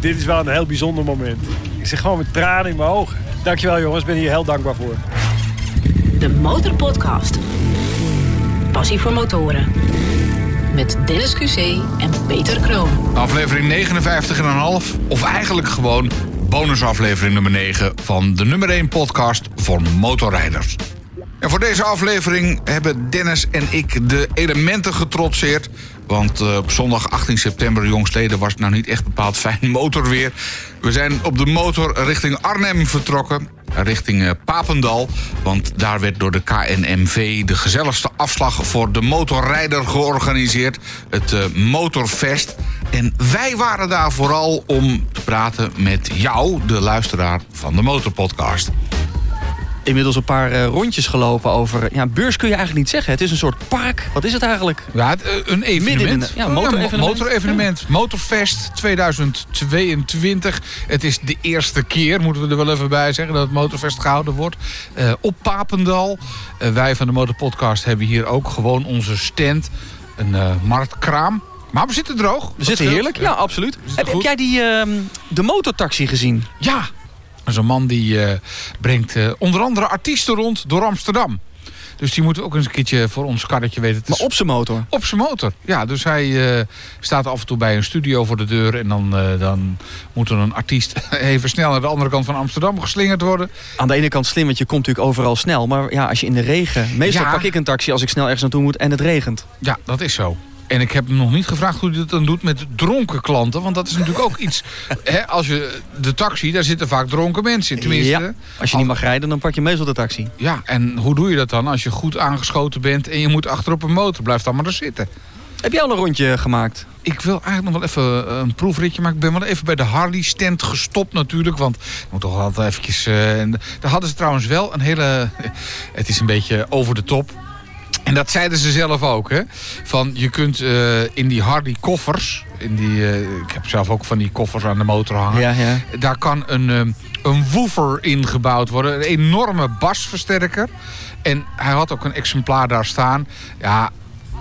dit is wel een heel bijzonder moment. Ik zit gewoon met tranen in mijn ogen. Dankjewel jongens, ben hier heel dankbaar voor. De Motorpodcast. Passie voor motoren. Met Dennis QC en Peter Kroon. Aflevering 59,5. Of eigenlijk gewoon bonusaflevering nummer 9 van de nummer 1 podcast voor motorrijders. En voor deze aflevering hebben Dennis en ik de elementen getrotseerd. Want eh, op zondag 18 september jongstleden was het nou niet echt bepaald fijn motorweer. We zijn op de motor richting Arnhem vertrokken. Richting eh, Papendal. Want daar werd door de KNMV de gezelligste afslag voor de motorrijder georganiseerd. Het eh, Motorfest. En wij waren daar vooral om te praten met jou, de luisteraar van de Motorpodcast. inmiddels een paar eh, rondjes gelopen over... Ja, beurs kun je eigenlijk niet zeggen. Het is een soort park. Wat is het eigenlijk? Ja, het, eh, een Midden in de- evenement. ja, motorevenement. mo- motorevenement. Motorfest 2022. Het is de eerste keer, moeten we er wel even bij zeggen, dat het motorfest gehouden wordt. Eh, op Papendal. Eh, wij van de Motorpodcast hebben hier ook gewoon onze stand. Een eh, marktkraam. Maar we zitten droog. We zitten heerlijk. Ja, absoluut. Heb, heb goed? jij die, ehm, de motortaxi gezien? Ja. Dat is een man die eh, brengt eh, onder andere artiesten rond door Amsterdam. Dus die moeten we ook eens een keertje voor ons karretje weten te Maar op zijn motor. Op zijn motor, ja. Dus hij eh, staat af en toe bij een studio voor de deur... en dan, eh, dan moet er een artiest even snel naar de andere kant van Amsterdam geslingerd worden. Aan de ene kant slim, want je komt natuurlijk overal snel. Maar ja, als je in de regen... Meestal Ja. pak ik een taxi als ik snel ergens naartoe moet en het regent. Ja, dat is zo. En ik heb hem nog niet gevraagd hoe hij dat dan doet met dronken klanten. Want dat is natuurlijk ook iets... Hè, als je de taxi, daar zitten vaak dronken mensen in. Tenminste, Ja. Als je niet mag rijden, dan pak je meestal de taxi. ja. En hoe doe je dat dan als je goed aangeschoten bent... en je moet achterop een motor? Blijf dan maar er zitten. Heb jij al een rondje gemaakt? Ik wil eigenlijk nog wel even eh, een proefritje maken. Ik ben wel even bij de Harley-stand gestopt natuurlijk. Want ik moet toch altijd eventjes... eh, en daar hadden ze trouwens wel een hele... Het is een beetje over de top. En dat zeiden ze zelf ook. Hè? Van je kunt eh, in die Harley-koffers... In die, eh, ik heb zelf ook van die koffers aan de motor hangen. Ja, ja. Daar kan een, ehm, een woofer ingebouwd worden. Een enorme basversterker. En hij had ook een exemplaar daar staan. Ja,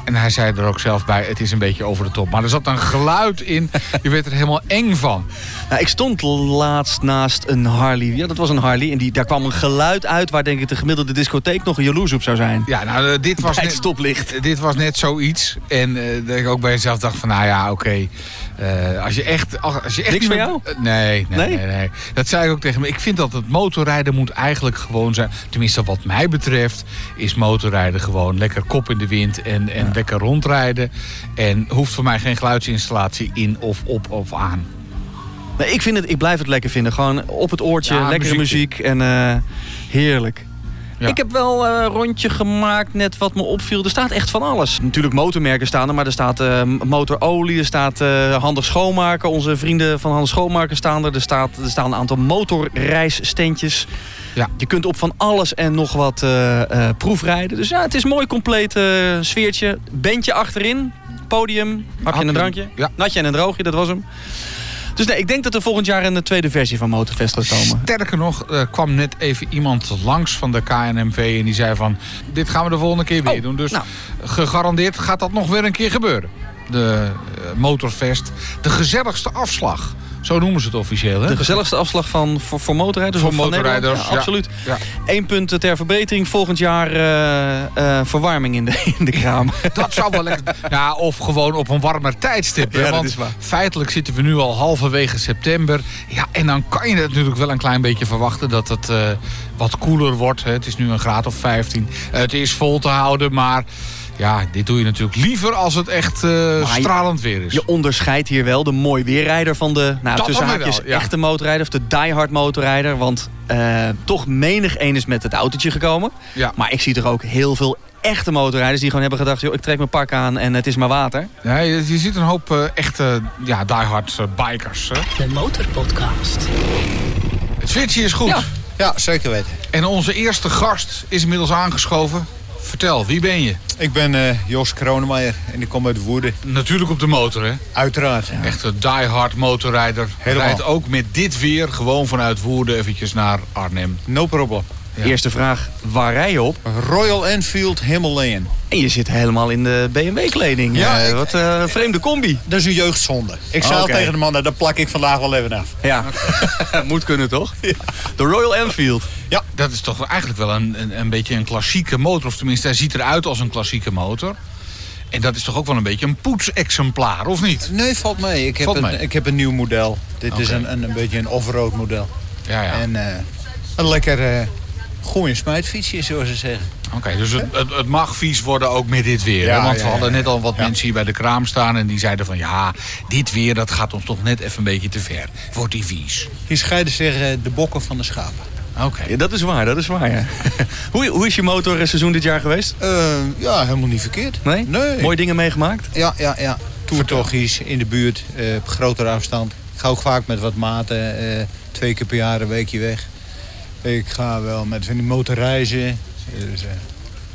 en hij zei er ook zelf bij, het is een beetje over de top. Maar er zat een geluid in, je werd er helemaal eng van. Nou, ik stond laatst naast een Harley. Ja, dat was een Harley. En die, daar kwam een geluid uit waar denk ik de gemiddelde discotheek nog jaloers op zou zijn. Ja, nou, eh, dit was, Bij het net, eh, stoplicht. dit was net zoiets. En eh, dat ik ook bij mezelf dacht van, nou ja, oké. Eh, als je echt... Als je echt niet Niks voor meer- jou? Eh, Nee nee, Nee? nee, nee. Dat zei ik ook tegen me. Ik vind dat het motorrijden moet eigenlijk gewoon zijn. Tenminste, wat mij betreft is motorrijden gewoon lekker kop in de wind en, en lekker rondrijden. En hoeft voor mij geen geluidsinstallatie in of op of aan. Nee, ik, vind het, ik blijf het lekker vinden. Gewoon op het oortje, Ja, lekkere muziek muziekje. en eh, heerlijk. Ja. Ik heb wel eh, een rondje gemaakt, net wat me opviel. Er staat echt van alles. Natuurlijk motormerken staan er, maar er staat eh, motorolie, er staat eh, handig schoonmaken. Onze vrienden van handig schoonmaken staan er. Er, staat, er staan een aantal motorreisstentjes. Ja. Je kunt op van alles en nog wat eh, eh, proefrijden. Dus ja, het is een mooi compleet eh, sfeertje. Bandje achterin, podium, hapje en een Hapje. drankje. Ja. Natje en een droogje, dat was hem. Dus nee, ik denk dat er volgend jaar een eh, tweede versie van Motorfest gaat komen. Sterker nog, er kwam net even iemand langs van de KNMV en die zei van... dit gaan we de volgende keer weer Oh, doen. Dus nou. gegarandeerd gaat dat nog weer een keer gebeuren. De eh, motorfest, de gezelligste afslag. Zo noemen ze het officieel, hè? De gezelligste afslag van, voor, voor motorrijders? Voor of van Nederland? motorrijders, Ja, ja. absoluut. Ja. Eén punt eh, ter verbetering. Volgend jaar eh, eh, verwarming in de, in de kraam. Dat zou wel lekker... Ja, of gewoon op een warmer tijdstip. hè, Ja, dat want is waar. feitelijk zitten we nu al halverwege september. Ja, en dan kan je natuurlijk wel een klein beetje verwachten dat het eh, wat koeler wordt. Hè. Het is nu een graad of 15. Het is vol te houden, maar... Ja, dit doe je natuurlijk liever als het echt eh, stralend weer is. Je onderscheidt hier wel de mooi weerrijder van de, nou, dan tussen weer haakjes, wel, ja. echte motorrijder. Of de diehard motorrijder. Want eh, toch menig een is met het autootje gekomen. Ja. Maar ik zie er ook heel veel echte motorrijders die gewoon hebben gedacht... joh, ik trek mijn pak aan en het is maar water. Ja, je, je ziet een hoop eh, echte ja, diehard eh, bikers. Hè. De Motorpodcast. Het switchje is goed. Ja. Ja, zeker weten. En onze eerste gast is inmiddels aangeschoven. Vertel, wie ben je? Ik ben eh, Jos Kronemeyer Eh, en ik kom uit Woerden. Natuurlijk op de motor, hè? Uiteraard. Ja. Echt een diehard motorrijder. Helemaal. Rijdt ook met dit weer gewoon vanuit Woerden eventjes naar Arnhem. No problem. Eerste vraag, waar rij je op? Royal Enfield Himalayan. En je zit helemaal in de BMW-kleding. Ja, Eh, ik- wat eh, een vreemde combi. Dat is een jeugdzonde. Ik zei Oh, al oké. tegen de mannen, dat plak ik vandaag wel even af. Ja, moet kunnen toch? De Royal Enfield. Dat is toch eigenlijk wel een, een, een beetje een klassieke motor. Of tenminste, hij ziet eruit als een klassieke motor. En dat is toch ook wel een beetje een poetsexemplaar, of niet? Nee, valt mee. Ik heb, Valt een, mee. Ik heb een nieuw model. Dit is Oké. een, een, een beetje een off-road model. Ja, ja. En eh, een lekker eh goeie smijtfietsje, zoals ze zeggen. Oké, dus het, het, het mag vies worden ook met dit weer. Ja, hè? Want ja, we hadden ja, ja. net al wat Ja. mensen hier bij de kraam staan... en die zeiden van ja, dit weer dat gaat ons toch net even een beetje te ver. Wordt die vies. Hier scheiden zich eh, de bokken van de schapen. Oké. Ja, dat is waar, dat is waar. Ja. hoe, hoe is je motorseizoen dit jaar geweest? Eh, ja, helemaal niet verkeerd. Nee? Nee. Mooie dingen meegemaakt? Ja, ja, ja. Toertochtjes in de buurt, eh, op grotere afstand. Ik ga ook vaak met wat maten, eh, twee keer per jaar een weekje weg. Ik ga wel met van die motorreizen. Dus, eh,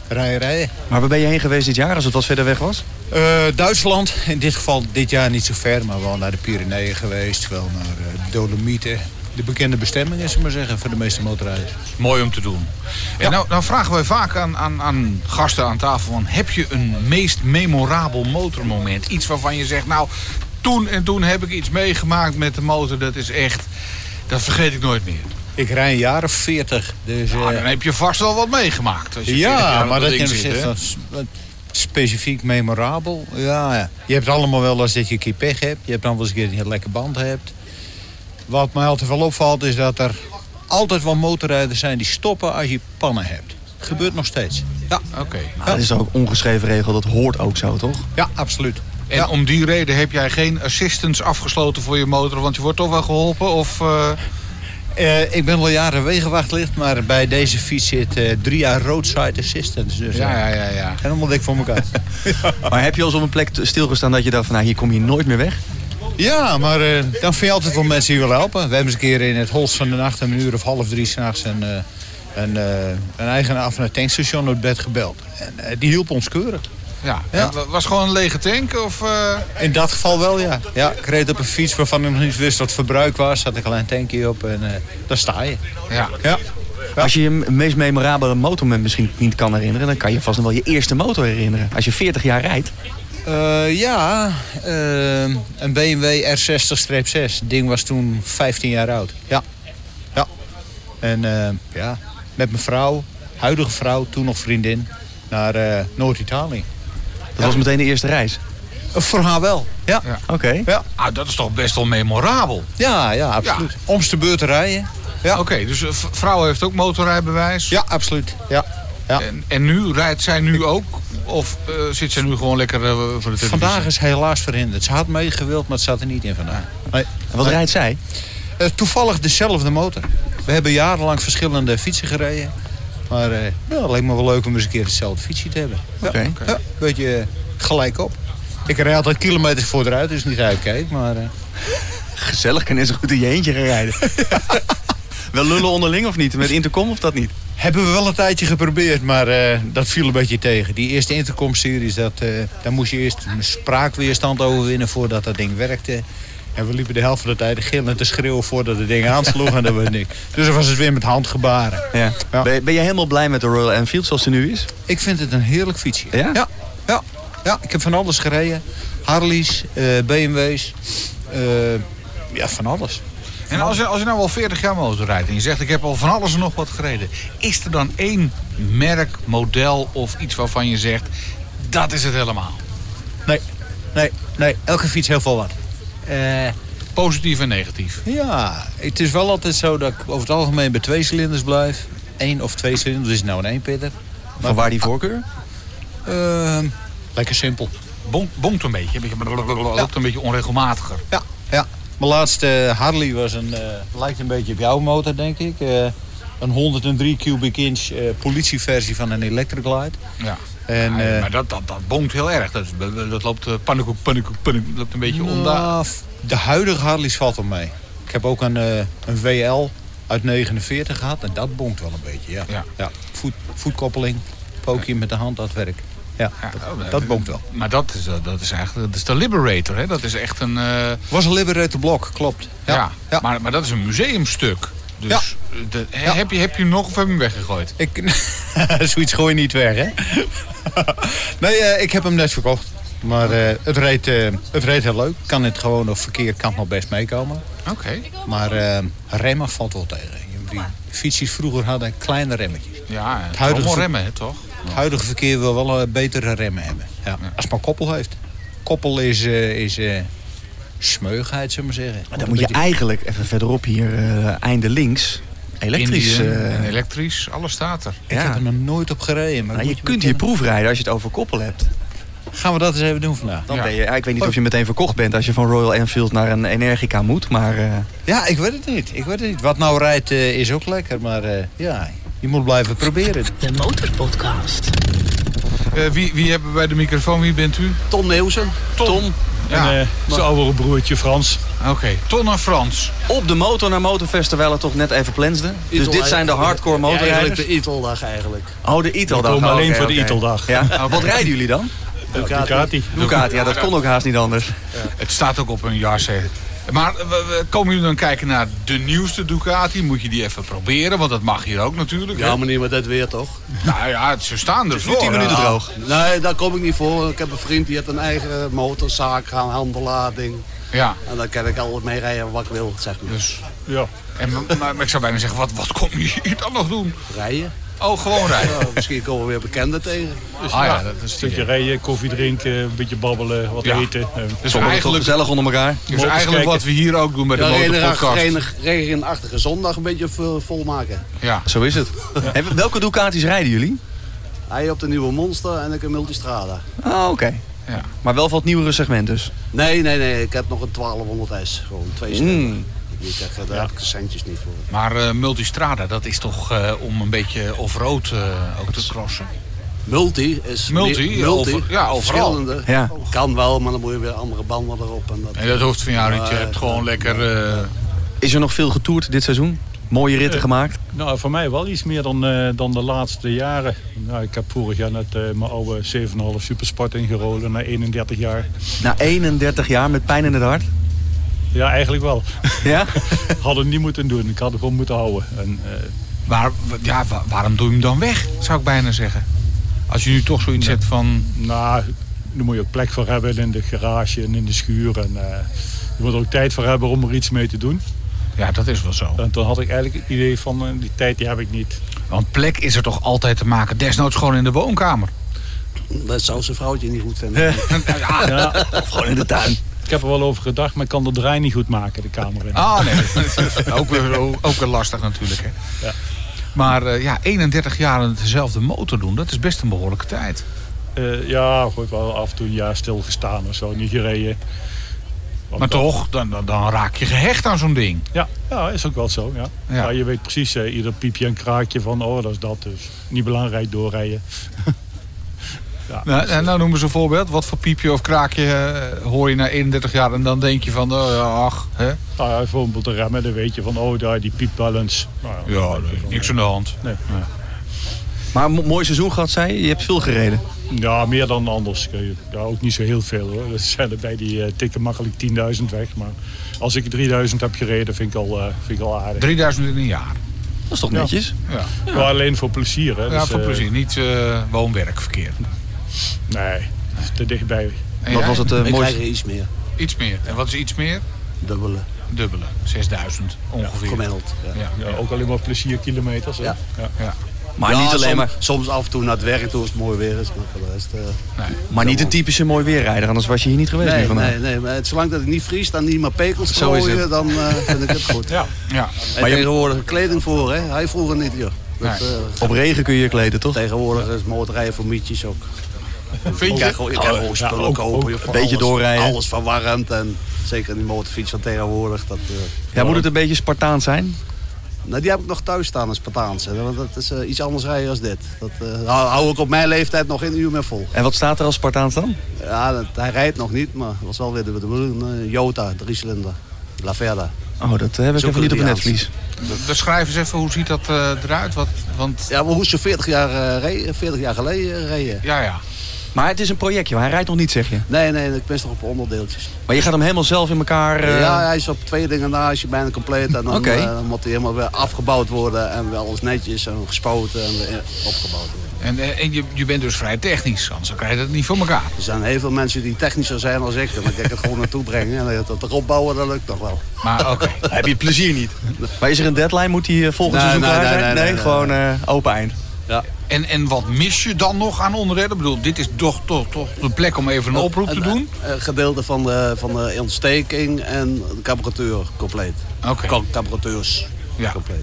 rijden, rijden. Maar waar ben je heen geweest dit jaar als het wat verder weg was? Eh, Duitsland, in dit geval dit jaar niet zo ver, maar wel naar de Pyreneeën geweest. Wel naar eh, de Dolomieten. De bekende bestemmingen, zullen we maar zeggen, voor de meeste motorrijders. Mooi om te doen. En nou, nou vragen wij vaak aan, aan, aan gasten aan tafel: van, heb je een meest memorabel motormoment? Iets waarvan je zegt, nou, toen en toen heb ik iets meegemaakt met de motor. Dat is echt, dat vergeet ik nooit meer. Ik rij een jaar of veertig, dus... Nou, eh, dan heb je vast wel wat meegemaakt. Als je 40 jaar Ja, op maar dat ding je zit, zegt hè? van s- wat specifiek memorabel. Ja, ja. Je hebt allemaal wel eens dat je een keer pech hebt. Je hebt dan wel eens een keer dat je een lekker band hebt. Wat mij altijd wel opvalt is dat er altijd wel motorrijders zijn die stoppen als je pannen hebt. Gebeurt nog steeds. Ja, Oké. Maar dat is ook ongeschreven regel, dat hoort ook zo, toch? ja absoluut. En Ja. om die reden heb jij geen assistance afgesloten voor je motor, want je wordt toch wel geholpen? Of, eh, Eh, ik ben al jaren wegenwachtlicht, maar bij deze fiets zit eh, drie jaar roadside assistance. Dus, ja, eh, ja, ja, ja. Helemaal dik voor elkaar. Maar heb je al eens op een plek t- stilgestaan dat je dacht van nou, hier kom je nooit meer weg? Ja, maar eh, dan vind je altijd wel mensen die willen helpen. We hebben eens een keer in het holst van de nacht, om een uur of half drie s'nachts, een, eh, een, eh, een eigenaar van het tankstation uit bed gebeld. En eh, die hielp ons keurig. ja. Ja. Het Was gewoon een lege tank? Of, eh, In dat geval wel, ja. ja ik reed op een fiets waarvan ik nog niet wist wat het verbruik was. Zat ik al een tankje op en eh, daar sta je. ja. Ja. Als je je m- meest memorabele motormoment misschien niet kan herinneren, dan kan je vast nog wel je eerste motor herinneren. Als je 40 jaar rijdt. Eh, ja, eh, een BMW R60-6. ding was toen 15 jaar oud. Ja. ja. En eh, ja, met mijn vrouw, huidige vrouw, toen nog vriendin, naar eh, Noord-Italië. Dat was meteen de eerste reis. Eh, Voor haar wel. Ja, Ja. Oké. ja, Ah, dat is toch best wel memorabel? ja, ja absoluut. Om's de beurt rijden. Ja, Oké, dus een v- vrouw heeft ook motorrijbewijs. ja absoluut. Ja. Ja. En, en nu rijdt zij nu ook? Of eh, zit zij nu gewoon lekker eh, voor de televisie? Vandaag is helaas verhinderd. Ze had meegewild, maar het zat er niet in vandaag. Nee. En wat rijdt zij? Eh, toevallig dezelfde motor. We hebben jarenlang verschillende fietsen gereden. Maar eh nou, het leek me wel leuk om eens een keer hetzelfde fietsje te hebben. Ja, Oké. ja, een beetje eh, gelijk op. Ik rijd altijd kilometers voor eruit, dus niet uitkijk. Maar eh, Gezellig, kan eens goed in je eentje gaan rijden. wel lullen onderling of niet? Met intercom of dat niet? hebben we wel een tijdje geprobeerd, maar eh, dat viel een beetje tegen. Die eerste intercom-series, dat, eh, daar moest je eerst een spraakweerstand overwinnen voordat dat ding werkte. En we liepen de helft van de tijd gillend te schreeuwen voordat het ding aansloeg en dat was niks. Dus dan was het weer met handgebaren. Ja. Ja. Ben, ben je helemaal blij met de Royal Enfield zoals ze nu is? Ik vind het een heerlijk fietsje. Ja? Ja, ja, ja. ik heb van alles gereden. Harleys, eh, BMW's. eh, ja, van alles. En als je, als je nou al 40 jaar motorrijdt en je zegt ik heb al van alles en nog wat gereden. Is er dan één merk, model of iets waarvan je zegt dat is het helemaal? Nee, nee, nee. Elke fiets heel veel wat. Eh, Positief en negatief. ja, het is wel altijd zo dat ik over het algemeen bij twee cilinders blijf. Eén of twee cilinders is het nou een eenpitter. Van waar die voorkeur? Ehm, lekker simpel. Bonk, bonkt een beetje, een beetje loopt een beetje onregelmatiger. Ja, ja. Mijn laatste Harley was een, eh, lijkt een beetje op jouw motor, denk ik. Eh, een 103 cubic inch eh, politieversie van een Electric Light. Ja. Ah, En, Ja, eh, maar dat, dat, dat bonkt heel erg. Dat, is- dat loopt eh, pannenkoek, pannenkoek, pannenkoek, loopt een beetje onder. Nou, f- de huidige Harley's valt om mee. Ik heb ook een, eh, een WL uit 49 gehad en dat bonkt wel een beetje. Ja. Ja. Ja. Voet, voetkoppeling, pookje met de hand, dat werk. Ja, Ja, oh, dat, nee, dat bonkt wel. Maar dat is, eh, dat is eigenlijk dat is de Liberator. Hè? Dat is echt een. eh, Was een Liberator blok, klopt. ja. ja. Maar, maar dat is een museumstuk. Dus Ja. de- he- heb, je, heb je hem nog of heb je hem weggegooid? Ik, zoiets gooi je niet weg, hè? nee, eh, ik heb hem net verkocht. Maar eh, het, reed, eh, het reed heel leuk. Kan het gewoon op verkeer, kan het nog best meekomen. Oké. Maar eh, remmen valt wel tegen. Die fietsjes vroeger hadden kleine remmetjes. Ja, het huidige allemaal ver- remmen, hè, toch? Het huidige verkeer wil wel eh, betere remmen hebben. Ja. Als het maar koppel heeft. Koppel is, eh, is eh, smeugheid, zullen we maar zeggen. Dan moet je eigenlijk even verderop hier, eh, einde links, elektrisch. Indian eh, en elektrisch, alles staat er. Ik heb ja. er nog nooit op gereden. Maar Nou, moet je kunt hier bekennen. proefrijden als je het over koppel hebt. Gaan we dat eens even doen vandaag? Dan Ja. Oh. ben je, ja, ik weet niet of je meteen verkocht bent als je van Royal Enfield naar een Energica moet. Maar eh, Ja, ik weet het niet. Ik weet het niet. Wat nou rijdt eh, is ook lekker, maar eh, ja, je moet blijven proberen. De Motorpodcast. Eh, wie, wie hebben wij de microfoon? Wie bent u? Tom Neuzen. Tom. Ja, En, eh, zijn oudere broertje Frans. oké. Ton en Frans. op de motor naar Motorfest, terwijl het toch net even plansde. Dus dit Itel zijn de eigenlijk- hardcore Ja, eigenlijk motorrijders. dus de Iteldag eigenlijk. Oh, de Itel Die dag. komen Oh, alleen oké, voor de oké. Iteldag. Ja. Nou, Wat rijden jullie dan? Ducati. Ducati. Ducati, ja, dat kon ook haast niet anders. Het staat ook op hun jas, hè. Maar eh, we- we- komen jullie dan kijken naar de nieuwste Ducati? Moet je die even proberen, want dat mag hier ook natuurlijk. hè? Ja, meneer, maar dat weer toch? Nou ja, ze staan ervoor. nu 10 minuten Ja. droog. Nee, daar kom ik niet voor. Ik heb een vriend die heeft een eigen motorzaak, gaan handelaar, ding. Ja, En dan kan ik altijd mee rijden wat ik wil, zeg maar. dus... Ja. En, maar, maar ik zou bijna zeggen, wat, wat kom je hier dan nog doen? Rijden. Oh, gewoon rijden. Ja, misschien komen we weer bekenden tegen. Dus Ah ja, dat is het Stukje idee. rijden, koffie drinken, een beetje babbelen, wat Ja. eten. Eh, Dus Sommigen toch eigenlijk, gezellig onder elkaar. dus eigenlijk kijken. wat we hier ook doen bij de ja, regenerach- motorpodcast. regener- regenachtige zondag een beetje vol- volmaken. Ja. Zo is het. Hey, welke Ducatis rijden jullie? Hij op de nieuwe Monster en ik een Multistrada. Oh, oké. Ja. Maar wel van het nieuwere segment dus. Nee, nee, nee. Ik heb nog een 1200S. Gewoon twee cilinder. Mm. Die krijg, daar heb ik centjes niet voor. Maar eh, Multistrada, dat is toch eh, om een beetje off-road eh, ook te crossen? Multi is... Multi, meer- ja, over- ja, overal. Verschillende. Ja. Kan wel, maar dan moet je weer andere banden erop. En dat, En dat hoeft van jou niet. Je Maar, hebt gewoon lekker... eh, Is er nog veel getoerd dit seizoen? Mooie ritten gemaakt? Nou, voor mij wel iets meer dan, eh, dan de laatste jaren. Nou, ik heb vorig jaar net eh, mijn oude 7,5 supersport ingerold na 31 jaar. Na 31 jaar met pijn in het hart? Ja, eigenlijk wel. Ja? Had het niet moeten doen. Ik had het gewoon moeten houden. En, eh, Maar wa- ja, wa- waarom doe je hem dan weg, zou ik bijna zeggen. Als je nu toch zoiets hebt van... nou, daar moet je ook plek voor hebben in de garage en in de schuur. En, eh, je moet er ook tijd voor hebben om er iets mee te doen. Ja, dat is wel zo. En toen had ik eigenlijk het idee van, eh, die tijd die heb ik niet. Want plek is er toch altijd te maken. Desnoods gewoon in de woonkamer. dat zou zijn vrouwtje niet goed vinden. Ja. Ja, Of gewoon in de tuin? ik heb er wel over gedacht, maar ik kan de draai niet goed maken, de kamer in. Ah, nee. ook, weer, ook weer lastig natuurlijk, hè. Ja. Maar eh, ja, 31 jaar aan dezelfde motor doen, dat is best een behoorlijke tijd. Eh, ja, goed, wel af en toe een jaar stilgestaan of zo, niet gereden. Want Maar dat- toch, dan, dan, dan raak je gehecht aan zo'n ding. Ja, ja, is ook wel zo. Ja. Ja. Ja. je weet precies eh, ieder piepje en kraakje van, oh, dat is dat. Dus niet belangrijk doorrijden. ja, Nou, en nou noemen ze een voorbeeld. Wat voor piepje of kraakje eh, hoor je na 31 jaar en dan denk je van, oh, ja, ach, hè? nou ja, bijvoorbeeld de remmen, dan weet je van, oh, daar, die piept wel eens. Nou, Ja, niks aan de hand. nee. Maar een Ah, mo- mooi seizoen gehad, zei je. Je hebt veel gereden. Ja, meer dan anders. eh, Ja, ook niet zo heel veel hoor. Dat zijn er bij die eh, tikken makkelijk 10.000 weg. Maar als ik 3000 heb gereden, vind ik al, eh, vind ik al aardig. 3000 in een jaar. Dat is toch Ja. netjes? Ja, Maar alleen voor plezier. Hè. ja Dus, voor eh, plezier. Niet eh, woonwerkverkeer. woon-werkverkeer. Nee, dat is te dichtbij. En Wat jij? was het eh, ik krijg mooiste? er iets meer. Iets meer. En wat is iets meer? Dubbele. Dubbele. 6000 ongeveer. Ja, Gemiddeld. Ja. ja. Ja, ook alleen maar plezierkilometers. hè. Ja. Ja. Maar Ja, niet alleen som- maar... Soms af en toe naar het werk toe als het mooi weer is. Maar voor de rest... eh, Nee. Maar niet een typische mooi weerrijder, anders was je hier niet geweest nu nee, vandaag. nee, nee. Maar het- zolang dat ik niet vriest en niet meer pekels Zo is het. strooien, dan eh, vind ik het goed. Ja. ja. En tegenwoordig kleding voor, hè. Hij vroeger niet, joh. Dat, Nee. eh, Op regen kun je je kleden, toch? tegenwoordig is motorrijden voor mietjes ook. Vind Je je? Oh, krijgt gewoon, je krijgt gewoon ja, spullen ook- ook kopen. Een een beetje doorrijden. Alles verwarrend en zeker die motorfiets van tegenwoordig. Dat, eh, Ja, moet het een beetje Spartaans zijn? nou, die heb ik nog thuis staan als Spartaanse. hè, Want dat is eh, iets anders rijden als dit. Dat eh, hou, hou ik op mijn leeftijd nog een uur mee vol. En wat staat er als Spartaans dan? Ja, dat, hij rijdt nog niet, maar dat was wel weer de bedoeling. eh, Jota, driecilinder, La Verda. Oh, dat heb ik Zo even niet op het Koreaans. netvlies. Dan schrijf eens even, hoe ziet dat eh, eruit? Wat, want, Ja, maar hoe ze 40 jaar, eh, reden- 40 jaar geleden eh, reden. ja, ja. Maar het is een projectje. Hij rijdt nog niet, zeg je. Nee, nee, ik ben nog op onderdeeltjes. Maar je gaat hem helemaal zelf in elkaar... eh, Ja, hij is op twee dingen na, is je bijna compleet. En dan Oké. eh, moet hij helemaal weer afgebouwd worden en wel eens netjes en gespoten en weer opgebouwd En, worden. eh, en je, je bent dus vrij technisch, anders krijg je dat niet voor elkaar. Er zijn heel veel mensen die technischer zijn als ik. En dan kan ik het gewoon naartoe brengen. En dat erop bouwen, dat lukt nog wel. Maar oké. Heb je plezier niet. Maar is er een deadline? Moet hij eh, volgend Nee, seizoen nee, klaar nee, zijn? nee, nee, nee. gewoon eh, open eind. En, en wat mis je dan nog aan onderdelen? Ik bedoel, dit is toch, toch, toch de plek om even een oproep te Een, doen? eh, gedeelte van de, van de ontsteking en de carburateur compleet. Oké. Ka- Carburateurs Ja. compleet.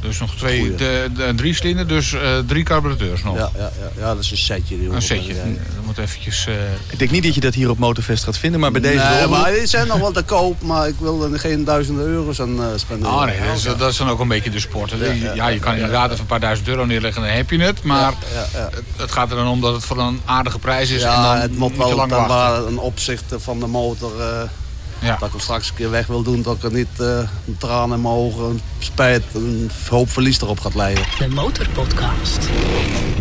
Dus nog twee, Goeie. de, de- drie cilinder, dus eh, drie carburateurs nog. Ja, ja, ja, ja, dat is een setje. Die Een we setje. hebben. Dat moet eventjes... eh, Ik denk niet dat je dat hier op Motorfest gaat vinden, maar bij deze... Nee, de oproep- maar die zijn nog wel te koop, maar ik wil er geen duizenden euro's aan eh, spenderen. Ah, nee, dat is, dat is dan ook een beetje de sport. hè. Ja, je kan inderdaad even een paar duizend euro neerleggen en dan heb je het. Maar Het, het gaat er dan om dat het voor een aardige prijs is. dus- en Ja, dan het moet moet je wel lang dan wachten. waar een opzichte van de motor. eh, Ja. Dat ik hem straks een keer weg wil doen, dat ik er niet eh, een traan in mijn ogen, een spijt, een hoop verlies erop gaat leiden. De Motorpodcast.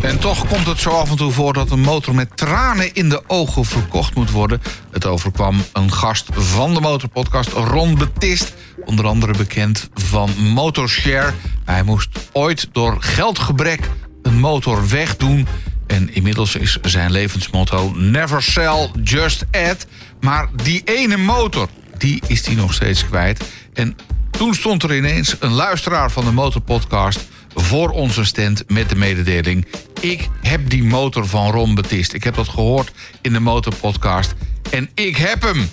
En toch komt het zo af en toe voor dat een motor met tranen in de ogen verkocht moet worden. Het overkwam een gast van de motorpodcast, Ron Betist. Onder andere bekend van Motorshare. Hij moest ooit door geldgebrek een motor wegdoen. En inmiddels is zijn levensmotto never sell, just add. Maar die ene motor, die is hij nog steeds kwijt. En toen stond er ineens een luisteraar van de Motorpodcast voor onze stand met de mededeling: Ik heb die motor van Ron Betist. Ik heb dat gehoord in de Motorpodcast en ik heb hem.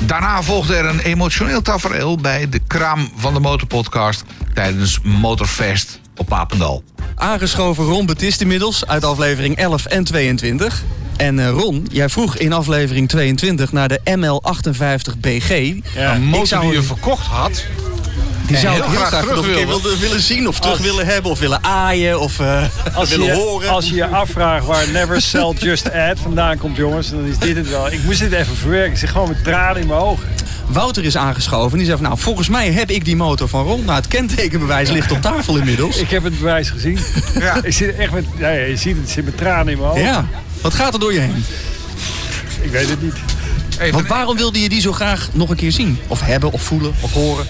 Daarna volgde er een emotioneel tafereel bij de kraam van de Motorpodcast tijdens Motorfest op Papendal. Aangeschoven Ron Betist inmiddels uit aflevering 11 en 22. En eh, Ron, jij vroeg in aflevering 22 naar de ML58BG. Ja. een motor ik zou die je hem- verkocht had. Die zou heel ik heel graag graag, terug nog een keer wilde. wilde- willen zien of Oh, terug willen hebben of willen aaien of eh, Als je, willen je- horen. als je je afvraagt waar Never Sell Just Add vandaan komt, jongens, dan is dit het wel. Ik moest dit even verwerken. Ik zit gewoon met tranen in mijn ogen. Wouter is aangeschoven. Die zegt, nou volgens mij heb ik die motor van Ron. Nou het kentekenbewijs ligt op tafel inmiddels. Ik heb het bewijs gezien. Ja. Ik zit echt met, ja, ja, je ziet het, ik zit met tranen in mijn ogen. Ja, wat gaat er door je heen? Ik weet het niet. Even- Want waarom wilde je die zo graag nog een keer zien? Of hebben, of voelen, of horen?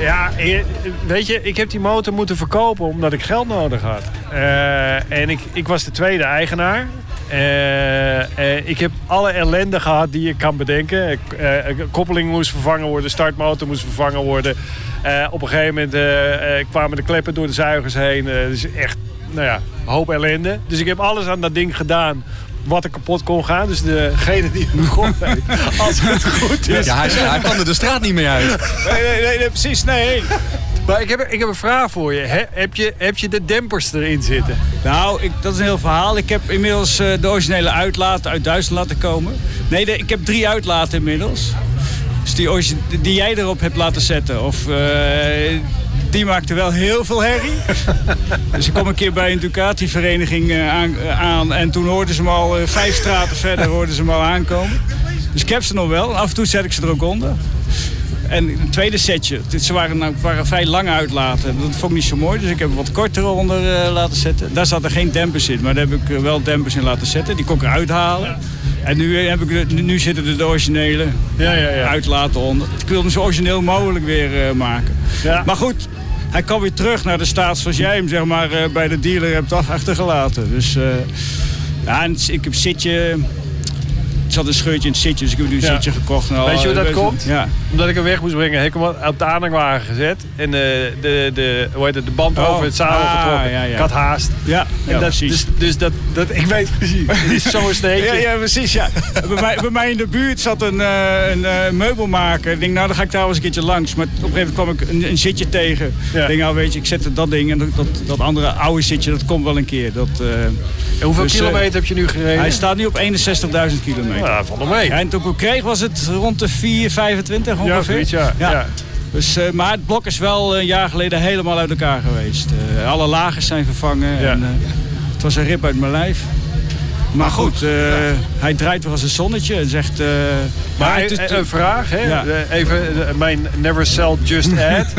Ja, eh, weet je, ik heb die motor moeten verkopen omdat ik geld nodig had. Eh, en ik, ik was de tweede eigenaar. Eh, eh, ik heb alle ellende gehad die je kan bedenken. Ik, eh, eh, koppeling moest vervangen worden, startmotor moest vervangen worden. Eh, op een gegeven moment eh, eh, kwamen de kleppen door de zuigers heen. Eh, dus echt, nou ja, een hoop ellende. Dus ik heb alles aan dat ding gedaan wat er kapot kon gaan. Dus degene die het begon heeft, als het goed is. Ja, hij, hij kwam er de straat niet meer uit. Nee, nee, nee, nee, precies, nee. Maar ik heb, ik heb een vraag voor je. He- heb je. Heb je de dempers erin zitten? Nou, ik, dat is een heel verhaal. Ik heb inmiddels eh, de originele uitlaten uit Duitsland laten komen. Nee, de- ik heb drie uitlaten inmiddels. Dus die, origi- die jij erop hebt laten zetten. Of, eh, die maakte wel heel veel herrie. dus ik kom een keer bij een Ducati-vereniging eh, aan, eh, aan. En toen hoorden ze hem al, eh, vijf straten verder, hoorden ze hem al aankomen. Dus ik heb ze nog wel. Af en toe zet ik ze er ook onder. En een tweede setje. Dit- Ze waren, nou, waren vrij lang uitlaten. Dat vond ik niet zo mooi, dus ik heb hem wat korter onder eh, laten zetten. Daar zaten geen dempers in, maar daar heb ik eh, wel dempers in laten zetten. Die kon ik eruit halen. En nu, eh, heb ik, de- nu zitten er de originele Ja, ja, ja. uitlaten onder. Ik wil hem zo origineel mogelijk weer eh, maken. Ja. Maar goed, hij kan weer terug naar de staat zoals jij hem zeg maar, eh, bij de dealer hebt af- achtergelaten. Dus eh, ja, en het- ik heb zitje... Er zat een scheurtje in het zitje, dus ik heb nu een Ja. zitje gekocht. Nou, Weet je hoe dat komt? Ja. Omdat ik hem weg moest brengen, heb ik hem op de aanhangwagen gezet. En eh, de, de, hoe heet het, de band Oh. over het zadel Ah, getrokken. ja, ja. Ik had haast. Ja, En ja dat, precies. Dus, dus dat, dat, ik weet precies. Het is zo'n sneetje. Ja, ja, precies, ja. bij, mij, bij mij in de buurt zat een, eh, een eh, meubelmaker. Ik denk, nou, dan ga ik daar wel eens een keertje langs. Maar op een gegeven moment kwam ik een, een zitje tegen. Ja. Ik denk, nou, weet je, ik zet dat ding en dat, dat, dat andere oude zitje, dat komt wel een keer. Dat, eh, En hoeveel Dus, eh, kilometer heb je nu gereden? Hij staat nu op 61.000 kilometer. nou, van de mee. Ja, en toen ik hem kreeg was het rond de 4,25 ongeveer. Ja, zoiets, ja. Ja. Dus, eh, maar het blok is wel een jaar geleden helemaal uit elkaar geweest. Eh, alle lagers zijn vervangen. Ja. En, eh, het was een rip uit mijn lijf. Maar goed, eh, hij draait weer als een zonnetje. Het is echt, eh, Ah, Maar eh, ja, het is- een, een vraag, hè? Ja. Eh, even eh, mijn never sell just add.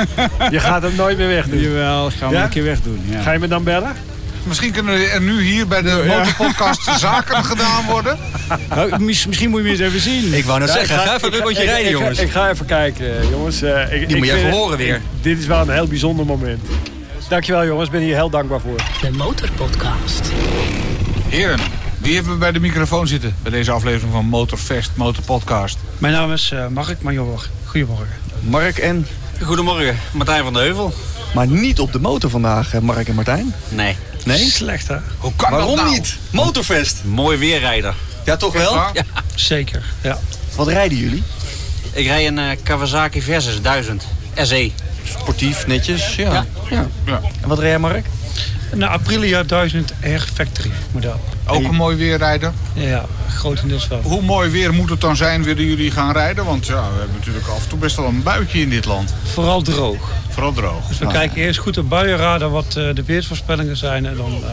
je gaat hem nooit meer wegdoen. Jawel, gaan we Ja? een keer wegdoen. Ja. Ga je me dan bellen? Misschien kunnen er nu hier bij de motorpodcast zaken gedaan worden. Nou, mis- misschien moet je me eens even zien. Ik wou net Ja, zeggen, ik ga even een rondje ik- rijden, ik- jongens. Ik, ga even kijken, eh, jongens. Eh, ik, ik Die moet je vind even het- horen weer. Dit is wel een heel bijzonder moment. Dankjewel, jongens. Ik ben hier heel dankbaar voor. De Motorpodcast. Heren, wie hebben we bij de microfoon zitten bij deze aflevering van Motorfest, Motorpodcast? Mijn naam is eh Mark Major. Goedemorgen. Mark en... Goedemorgen, Martijn van de Heuvel. Maar niet op de motor vandaag, hè, Mark en Martijn. Nee. Nee? Slecht hè? Hoe kan dat Waarom nou? niet? Motorfest. Mooi weerrijder. Ja, toch Echt wel? waar? Zeker. Ja. Wat rijden jullie? Ik rij een eh, Kawasaki Versus E. 1000 SE. Sportief, netjes, ja. ja. Ja. En wat rij jij, Mark? Een Aprilia 1000 Air Factory model. Ook een mooi weerrijder. Ja, grotendeels wel. Hoe mooi weer moet het dan zijn, willen jullie gaan rijden? Want ja, we hebben natuurlijk af en toe best wel een buitje in dit land. Vooral droog. Vooral droog. Ah. Nou, Dus we kijken eerst goed op buienradar wat eh, de weersvoorspellingen zijn. En dan eh,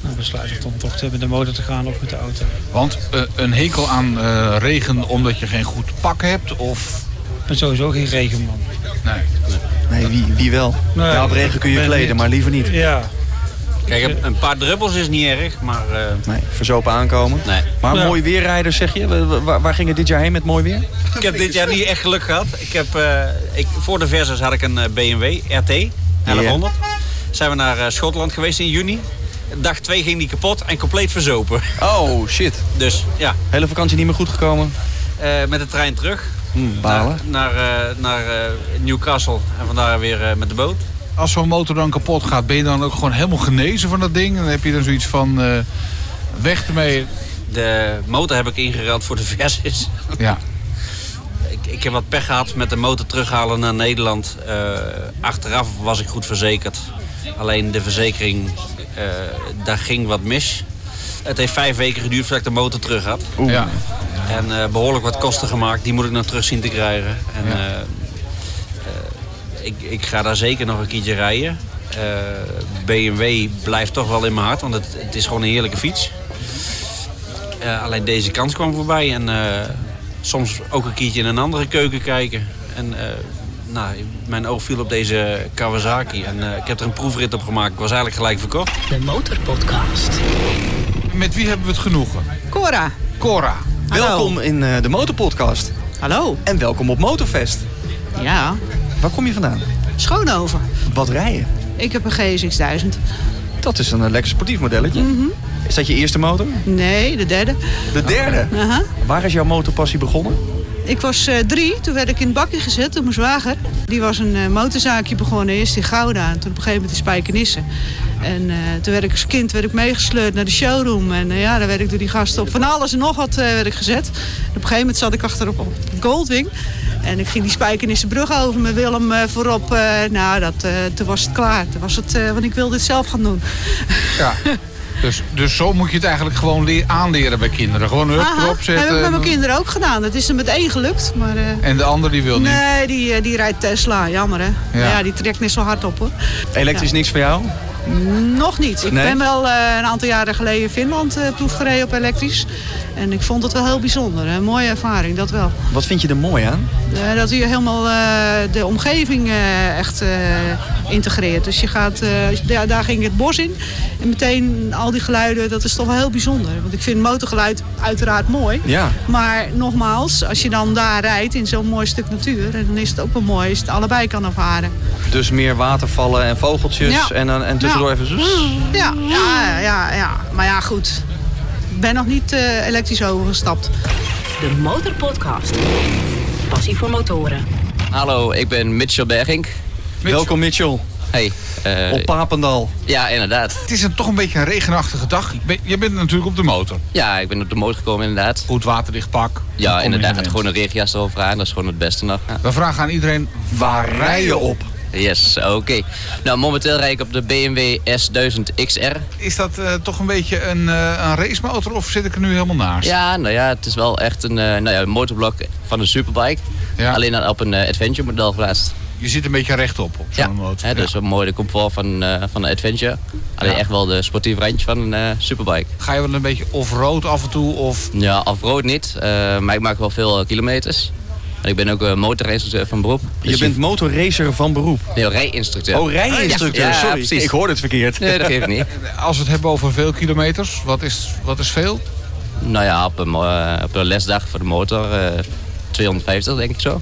nou, besluiten we dan toch te- met de motor te gaan of met de auto. Want eh, een hekel aan eh, regen omdat je geen goed pak hebt of... Ik ben sowieso geen regenman. Nee. Nee, wie, wie wel? Nee, ja, op regen kun je ben kleden, niet. maar liever niet. Ja, Kijk, een- een paar druppels is niet erg, maar eh, Nee, verzopen aankomen. nee. Maar Ja. mooi weerrijders, zeg je? Wa- wa- Waar, ging het dit jaar heen met mooi weer? Ik heb dit jaar niet echt geluk gehad. Ik heb, eh, ik, voor de Versus had ik een eh, BMW RT 1100. Zijn we naar eh, Schotland geweest in juni. Dag 2 ging die kapot en compleet verzopen. Oh, shit. Dus ja, Hele vakantie niet meer goed gekomen. eh, met de trein terug Hm, naar, balen. naar, eh, naar eh, Newcastle en vandaar weer eh, met de boot. Als zo'n motor dan kapot gaat, ben je dan ook gewoon helemaal genezen van dat ding? Dan heb je dan zoiets van, eh, weg ermee. De motor heb ik ingeruild voor de Versus. Ja. Ik, ik heb wat pech gehad met de motor terughalen naar Nederland. Eh, achteraf was ik goed verzekerd. Alleen de verzekering, eh, daar ging wat mis. Het heeft vijf weken geduurd voordat ik de motor terug had. ja. En eh, behoorlijk wat kosten gemaakt. Die moet ik nog terug zien te krijgen. En, Ja. eh, eh, ik, ik ga daar zeker nog een keertje rijden. Eh, BMW blijft toch wel in mijn hart, want het, het is gewoon een heerlijke fiets. Eh, alleen deze kans kwam voorbij. En eh, soms ook een keertje in een andere keuken kijken. En eh, nou, mijn oog viel op deze Kawasaki. En eh, ik heb er een proefrit op gemaakt. Ik was eigenlijk gelijk verkocht. De Motorpodcast. Met wie hebben we het genoegen? Cora. Cora. Welkom in eh, de Motorpodcast. Hallo. En welkom op Motorfest. Ja, Waar kom je vandaan? Schoonhoven. Wat rijden? Ik heb een GSX 1000. Dat is een eh, lekker sportief modelletje. Is dat je eerste motor? Mhm. Nee, de derde. De derde. Aha. Waar is jouw motorpassie begonnen? Ik was eh, drie, toen werd ik in het bakje gezet door mijn zwager. Die was een eh, motorzaakje begonnen, eerst in Gouda en toen op een gegeven moment in Spijkenisse. En eh, toen werd ik als kind werd ik meegesleurd naar de showroom. En eh, ja, daar werd ik door die gasten op van alles en nog wat eh, werd ik gezet. En op een gegeven moment zat ik achterop op Goldwing. En ik ging die Spijkenisse brug over met Willem eh, voorop. Eh, nou, dat, eh, toen was het klaar. Toen was het, eh, want ik wilde dit zelf gaan doen. Ja. Dus, dus zo moet je het eigenlijk gewoon leer, aanleren bij kinderen. Gewoon hup Aha, erop zetten. Heb ik met mijn en- kinderen ook gedaan. Dat is er met één gelukt. Maar, eh, En de ander die wil niet. nee, die, eh, die rijdt Tesla. Jammer hè. Maar Ja, die trekt niet zo hard op hoor. Elektrisch niks voor jou? Nog niet. Ik Nee? ben wel eh, een aantal jaren geleden in Finland eh proefgereden op elektrisch. En ik vond het wel heel bijzonder. Een mooie ervaring, dat wel. Wat vind je er mooi aan? Eh, dat je helemaal eh, de omgeving eh, echt eh, integreert. Dus je gaat, eh, ja, daar ging ik het bos in. En meteen al die geluiden, dat is toch wel heel bijzonder. Want ik vind motorgeluid uiteraard mooi. Ja. Maar nogmaals, als je dan daar rijdt in zo'n mooi stuk natuur, dan is het ook wel mooi als je het allebei kan ervaren. Dus meer watervallen en vogeltjes Ja. en, dan- en tussendoor Ja. Mm. even... zzz. Ja, ja, ja, ja. Maar ja, goed. Ik ben nog niet eh, elektrisch overgestapt. De Motorpodcast. Passie voor motoren. Hallo, ik ben Mitchell Bergink. Welkom Mitchell, Hey, eh, op Papendal. ja inderdaad. Het is een, toch een beetje een regenachtige dag. Je bent- Je bent natuurlijk op de motor. Ja, ik ben op de motor gekomen inderdaad. Goed waterdicht pak. Dan kom Ja, je inderdaad. erin. gewoon een regenjas erover aan. Dat is gewoon het beste nog. Ja. We vragen aan iedereen, waar rij je op? Yes, oké. Nou, momenteel rijd ik op de BMW S1000XR. Is dat eh, toch een beetje een, eh, een racemotor of zit ik er nu helemaal naast? Ja, nou ja, het is wel echt een, eh, nou ja, een motorblok van een superbike. Ja. Alleen dan op een eh, adventure model geplaatst. Je zit een beetje rechtop op zo'n Ja, motor. hè, dus Ja. een mooi de comfort van, eh, van een adventure. Alleen Ja. echt wel de sportief randje van een eh, superbike. Ga je wel een beetje off-road af en toe? Of... Ja, off-road niet, eh, maar ik maak wel veel eh, kilometers. En ik ben ook eh, motorracer van beroep. Dus Je bent motorracer van beroep? Nee, rijinstructeur. Oh, rijinstructeur. Ja, Sorry, precies. ik hoorde het verkeerd. Nee, dat geeft niet. Als we het hebben over veel kilometers, wat is, wat is veel? Nou ja, op een, mo- eh, op een lesdag voor de motor eh, 250 denk ik zo.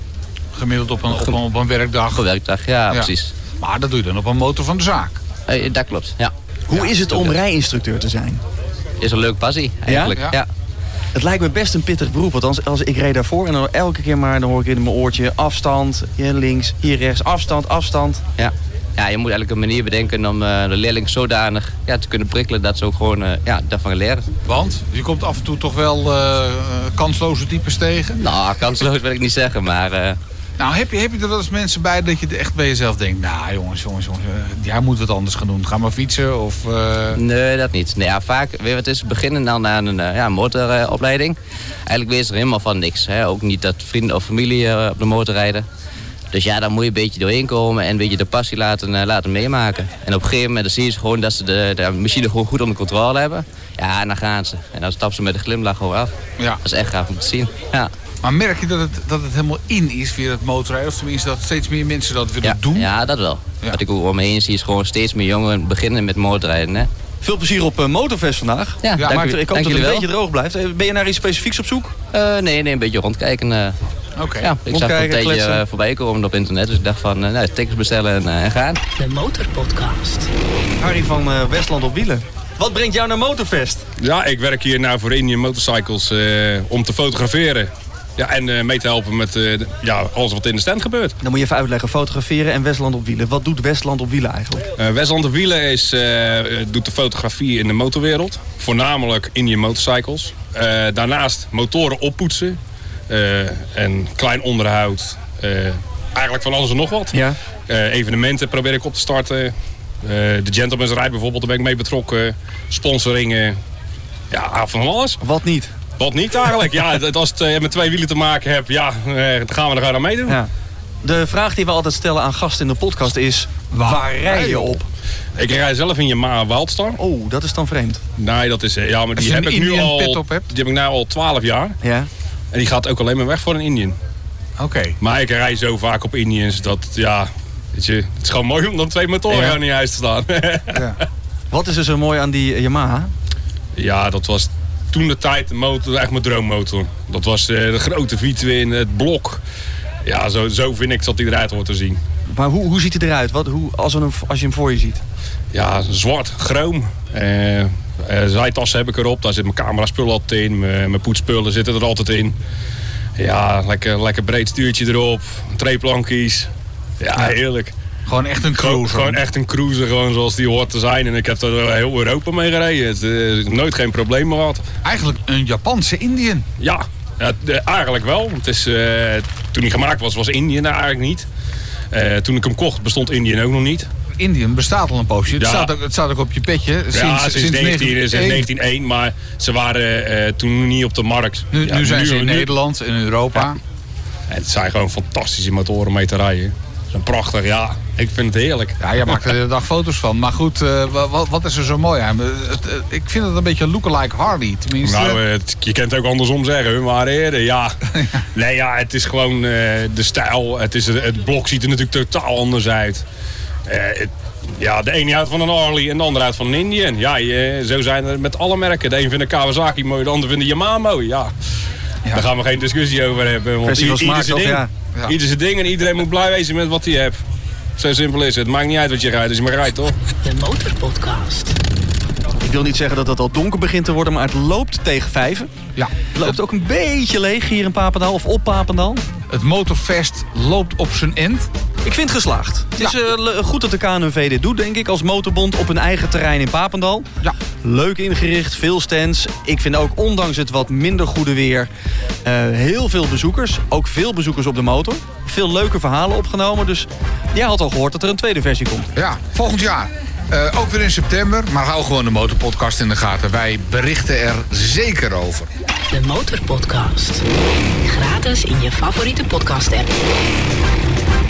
Gemiddeld op een, op een, op een werkdag? Op een werkdag, ja, Ja. precies. Eh, Maar dat doe je dan op een motor van de zaak? dat klopt, ja. Hoe is het om rijinstructeur te zijn? Is een leuk passie eigenlijk. Ja? ja. Het lijkt me best een pittig beroep. Want als, als ik reed daarvoor en dan elke keer maar dan hoor ik in mijn oortje afstand, hier links, hier rechts, afstand, afstand. Ja. ja, je moet eigenlijk een manier bedenken om eh, de leerling zodanig ja, te kunnen prikkelen dat ze ook gewoon eh, ja, daarvan leren. Want je komt af en toe toch wel eh, kansloze types tegen? Nou, kansloos wil ik niet zeggen, maar... eh, Nou, heb je, heb je er wel eens mensen bij dat je echt bij jezelf denkt... Nou jongens, jongens, jongens, eh, jij moet wat anders gaan doen. Ga maar fietsen of... eh, Nee, dat niet. Nee, ja, vaak, weet je wat het is, beginnen dan aan een eh, ja, motoropleiding. Eigenlijk weet ze er helemaal van niks. Hè? Ook niet dat vrienden of familie eh, op de motor rijden. Dus ja, daar moet je een beetje doorheen komen en een beetje de passie laten, eh, laten meemaken. En op een gegeven moment dan zie je ze gewoon dat ze de, de machine gewoon goed onder controle hebben. Ja, en dan gaan ze. En dan stappen ze met een glimlach gewoon af. Ja. Dat is echt gaaf om te zien. Ja. Maar merk je dat het, dat het helemaal in is weer het motorrijden? Of tenminste dat steeds meer mensen dat willen doen? Ja, dat wel. Wat ik ook om me heen zie is gewoon steeds meer jongeren beginnen met motorrijden. Hè? Veel plezier op eh, Motorfest vandaag. Ja, dank maar u- ik hoop dank dat het jullie een wel. beetje droog blijft. Eh, Ben je naar iets specifieks op zoek? Eh, nee, nee, een beetje rondkijken. eh. Oké. Ja, ik zag het een Rondkijken, tijdje kletsen. eh, voorbij komen op internet, dus ik dacht van, eh, nou, tickets bestellen en, eh, en gaan. De Motorpodcast. Harry van eh, Westland op wielen. Wat brengt jou naar Motorfest? Ja, ik werk hier nou voor Indian Motorcycles eh, om te fotograferen. Ja, en eh, mee te helpen met eh, de- ja, alles wat in de stand gebeurt. Dan moet je even uitleggen, fotograferen en Westland op wielen. Wat doet Westland op wielen eigenlijk? Eh Westland de Wielen is, eh, eh, doet de fotografie in de motorwereld. Voornamelijk Indian Motorcycles. Eh, daarnaast motoren oppoetsen. eh, en klein onderhoud. Eh, eigenlijk van alles en nog wat. Ja. Eh, evenementen probeer ik op te starten. Eh, de Gentleman's Ride bijvoorbeeld, daar ben ik mee betrokken. Sponsoringen. Ja, van alles. Wat niet? Wat niet eigenlijk. Ja, het- het- als het eh, met twee wielen te maken hebt, ja, eh, dan gaan we er gewoon aan meedoen. Ja. De vraag die we altijd stellen aan gasten in de podcast is... Waar, rij je op? Ik rij zelf in Yamaha Wildstar. Oh, dat is dan vreemd. Nee, dat is... eh, Ja, maar Als die je heb een ik nu Indian al... pet op Die heb ik nu al 12 jaar. Ja. En die gaat ook alleen maar weg voor een Indian. Oké. Maar ik rij zo vaak op Indians dat, ja... Weet je, het is gewoon mooi om dan twee motoren Ja. gewoon in je huis te staan. Wat is er zo mooi aan die eh, Yamaha? ja, dat was toen de tijd de motor, echt mijn droommotor. Dat was eh, de grote V-twin, het blok. Ja, zo, zo vind ik dat die eruit hoort te zien. Maar hoe, hoe ziet hij eruit? Wat, hoe, als, we hem, als je hem voor je ziet? Ja, zwart, chroom. Eh, eh, zijtassen heb ik erop. Daar zit mijn camera-spullen altijd in. Mijn mijn poetspullen zitten er altijd in. Ja, lekker, lekker breed stuurtje erop. Treeplankies. Ja, heerlijk. Gewoon echt een Gewoon, cruiser. echt een cruiser, gewoon zoals die hoort te zijn. En ik heb er heel Europa mee gereden. Het, eh, nooit geen probleem gehad. Eigenlijk een Japanse Indian. Ja, ja, de- eigenlijk wel. Het is, eh, toen hij gemaakt was, was Indië daar eigenlijk niet. Eh, toen ik hem kocht, bestond Indië ook nog niet. Indian bestaat al een poosje. Het, Ja. staat ook, het staat ook op je petje. Sinds, ja, sinds, 19, 1901. sinds 1901, maar ze waren eh, toen niet op de markt. Nu, Ja, nu zijn ze in nu- Nederland, in Europa. En Het zijn gewoon fantastische motoren om mee te rijden. Ze zijn prachtig, ja. Ik vind het heerlijk. Ja, jij maakt er de hele dag foto's van. Maar goed, eh, wa- wa- wat is er zo mooi aan? Eh, het- eh, Ik vind het een beetje lookalike Harley. Tenminste, Nou, eh, het- je kent het ook andersom zeggen, hun waren eerder, ja. Nee, ja, het is gewoon eh, de stijl. Het, is, het blok ziet er natuurlijk totaal anders uit. Eh, het- ja, de ene houdt van een Harley en de andere houdt van een Indian. Ja, je- zo zijn er met alle merken. De een vindt een Kawasaki mooi, de ander vindt een Yamaha mooi, ja. Daar gaan we geen discussie over hebben. Want Kwestie van i- ieder zijn smaak, toch? ding. Ja. Ieder zijn ding en iedereen moet blij wezen met wat hij hebt. Zo simpel is het. Maakt niet uit wat je rijdt, als je maar rijdt, toch? De Motorpodcast. Ik wil niet zeggen dat het al donker begint te worden, maar het loopt tegen vijven. Ja. Het loopt ook een beetje leeg hier in Papendal of op Papendal. Het motorfest loopt op zijn end. Ik vind het geslaagd. Het is eh, le- goed dat de KNVB dit doet, denk ik, als motorbond op hun eigen terrein in Papendal. Ja. Leuk ingericht, veel stands. Ik vind ook, ondanks het wat minder goede weer, eh, heel veel bezoekers. Ook veel bezoekers op de motor. Veel leuke verhalen opgenomen. Dus jij had al gehoord dat er een tweede versie komt. Ja, volgend jaar. Eh, ook weer in september. Maar hou gewoon de motorpodcast in de gaten. Wij berichten er zeker over. De Motorpodcast. Gratis in je favoriete podcast app.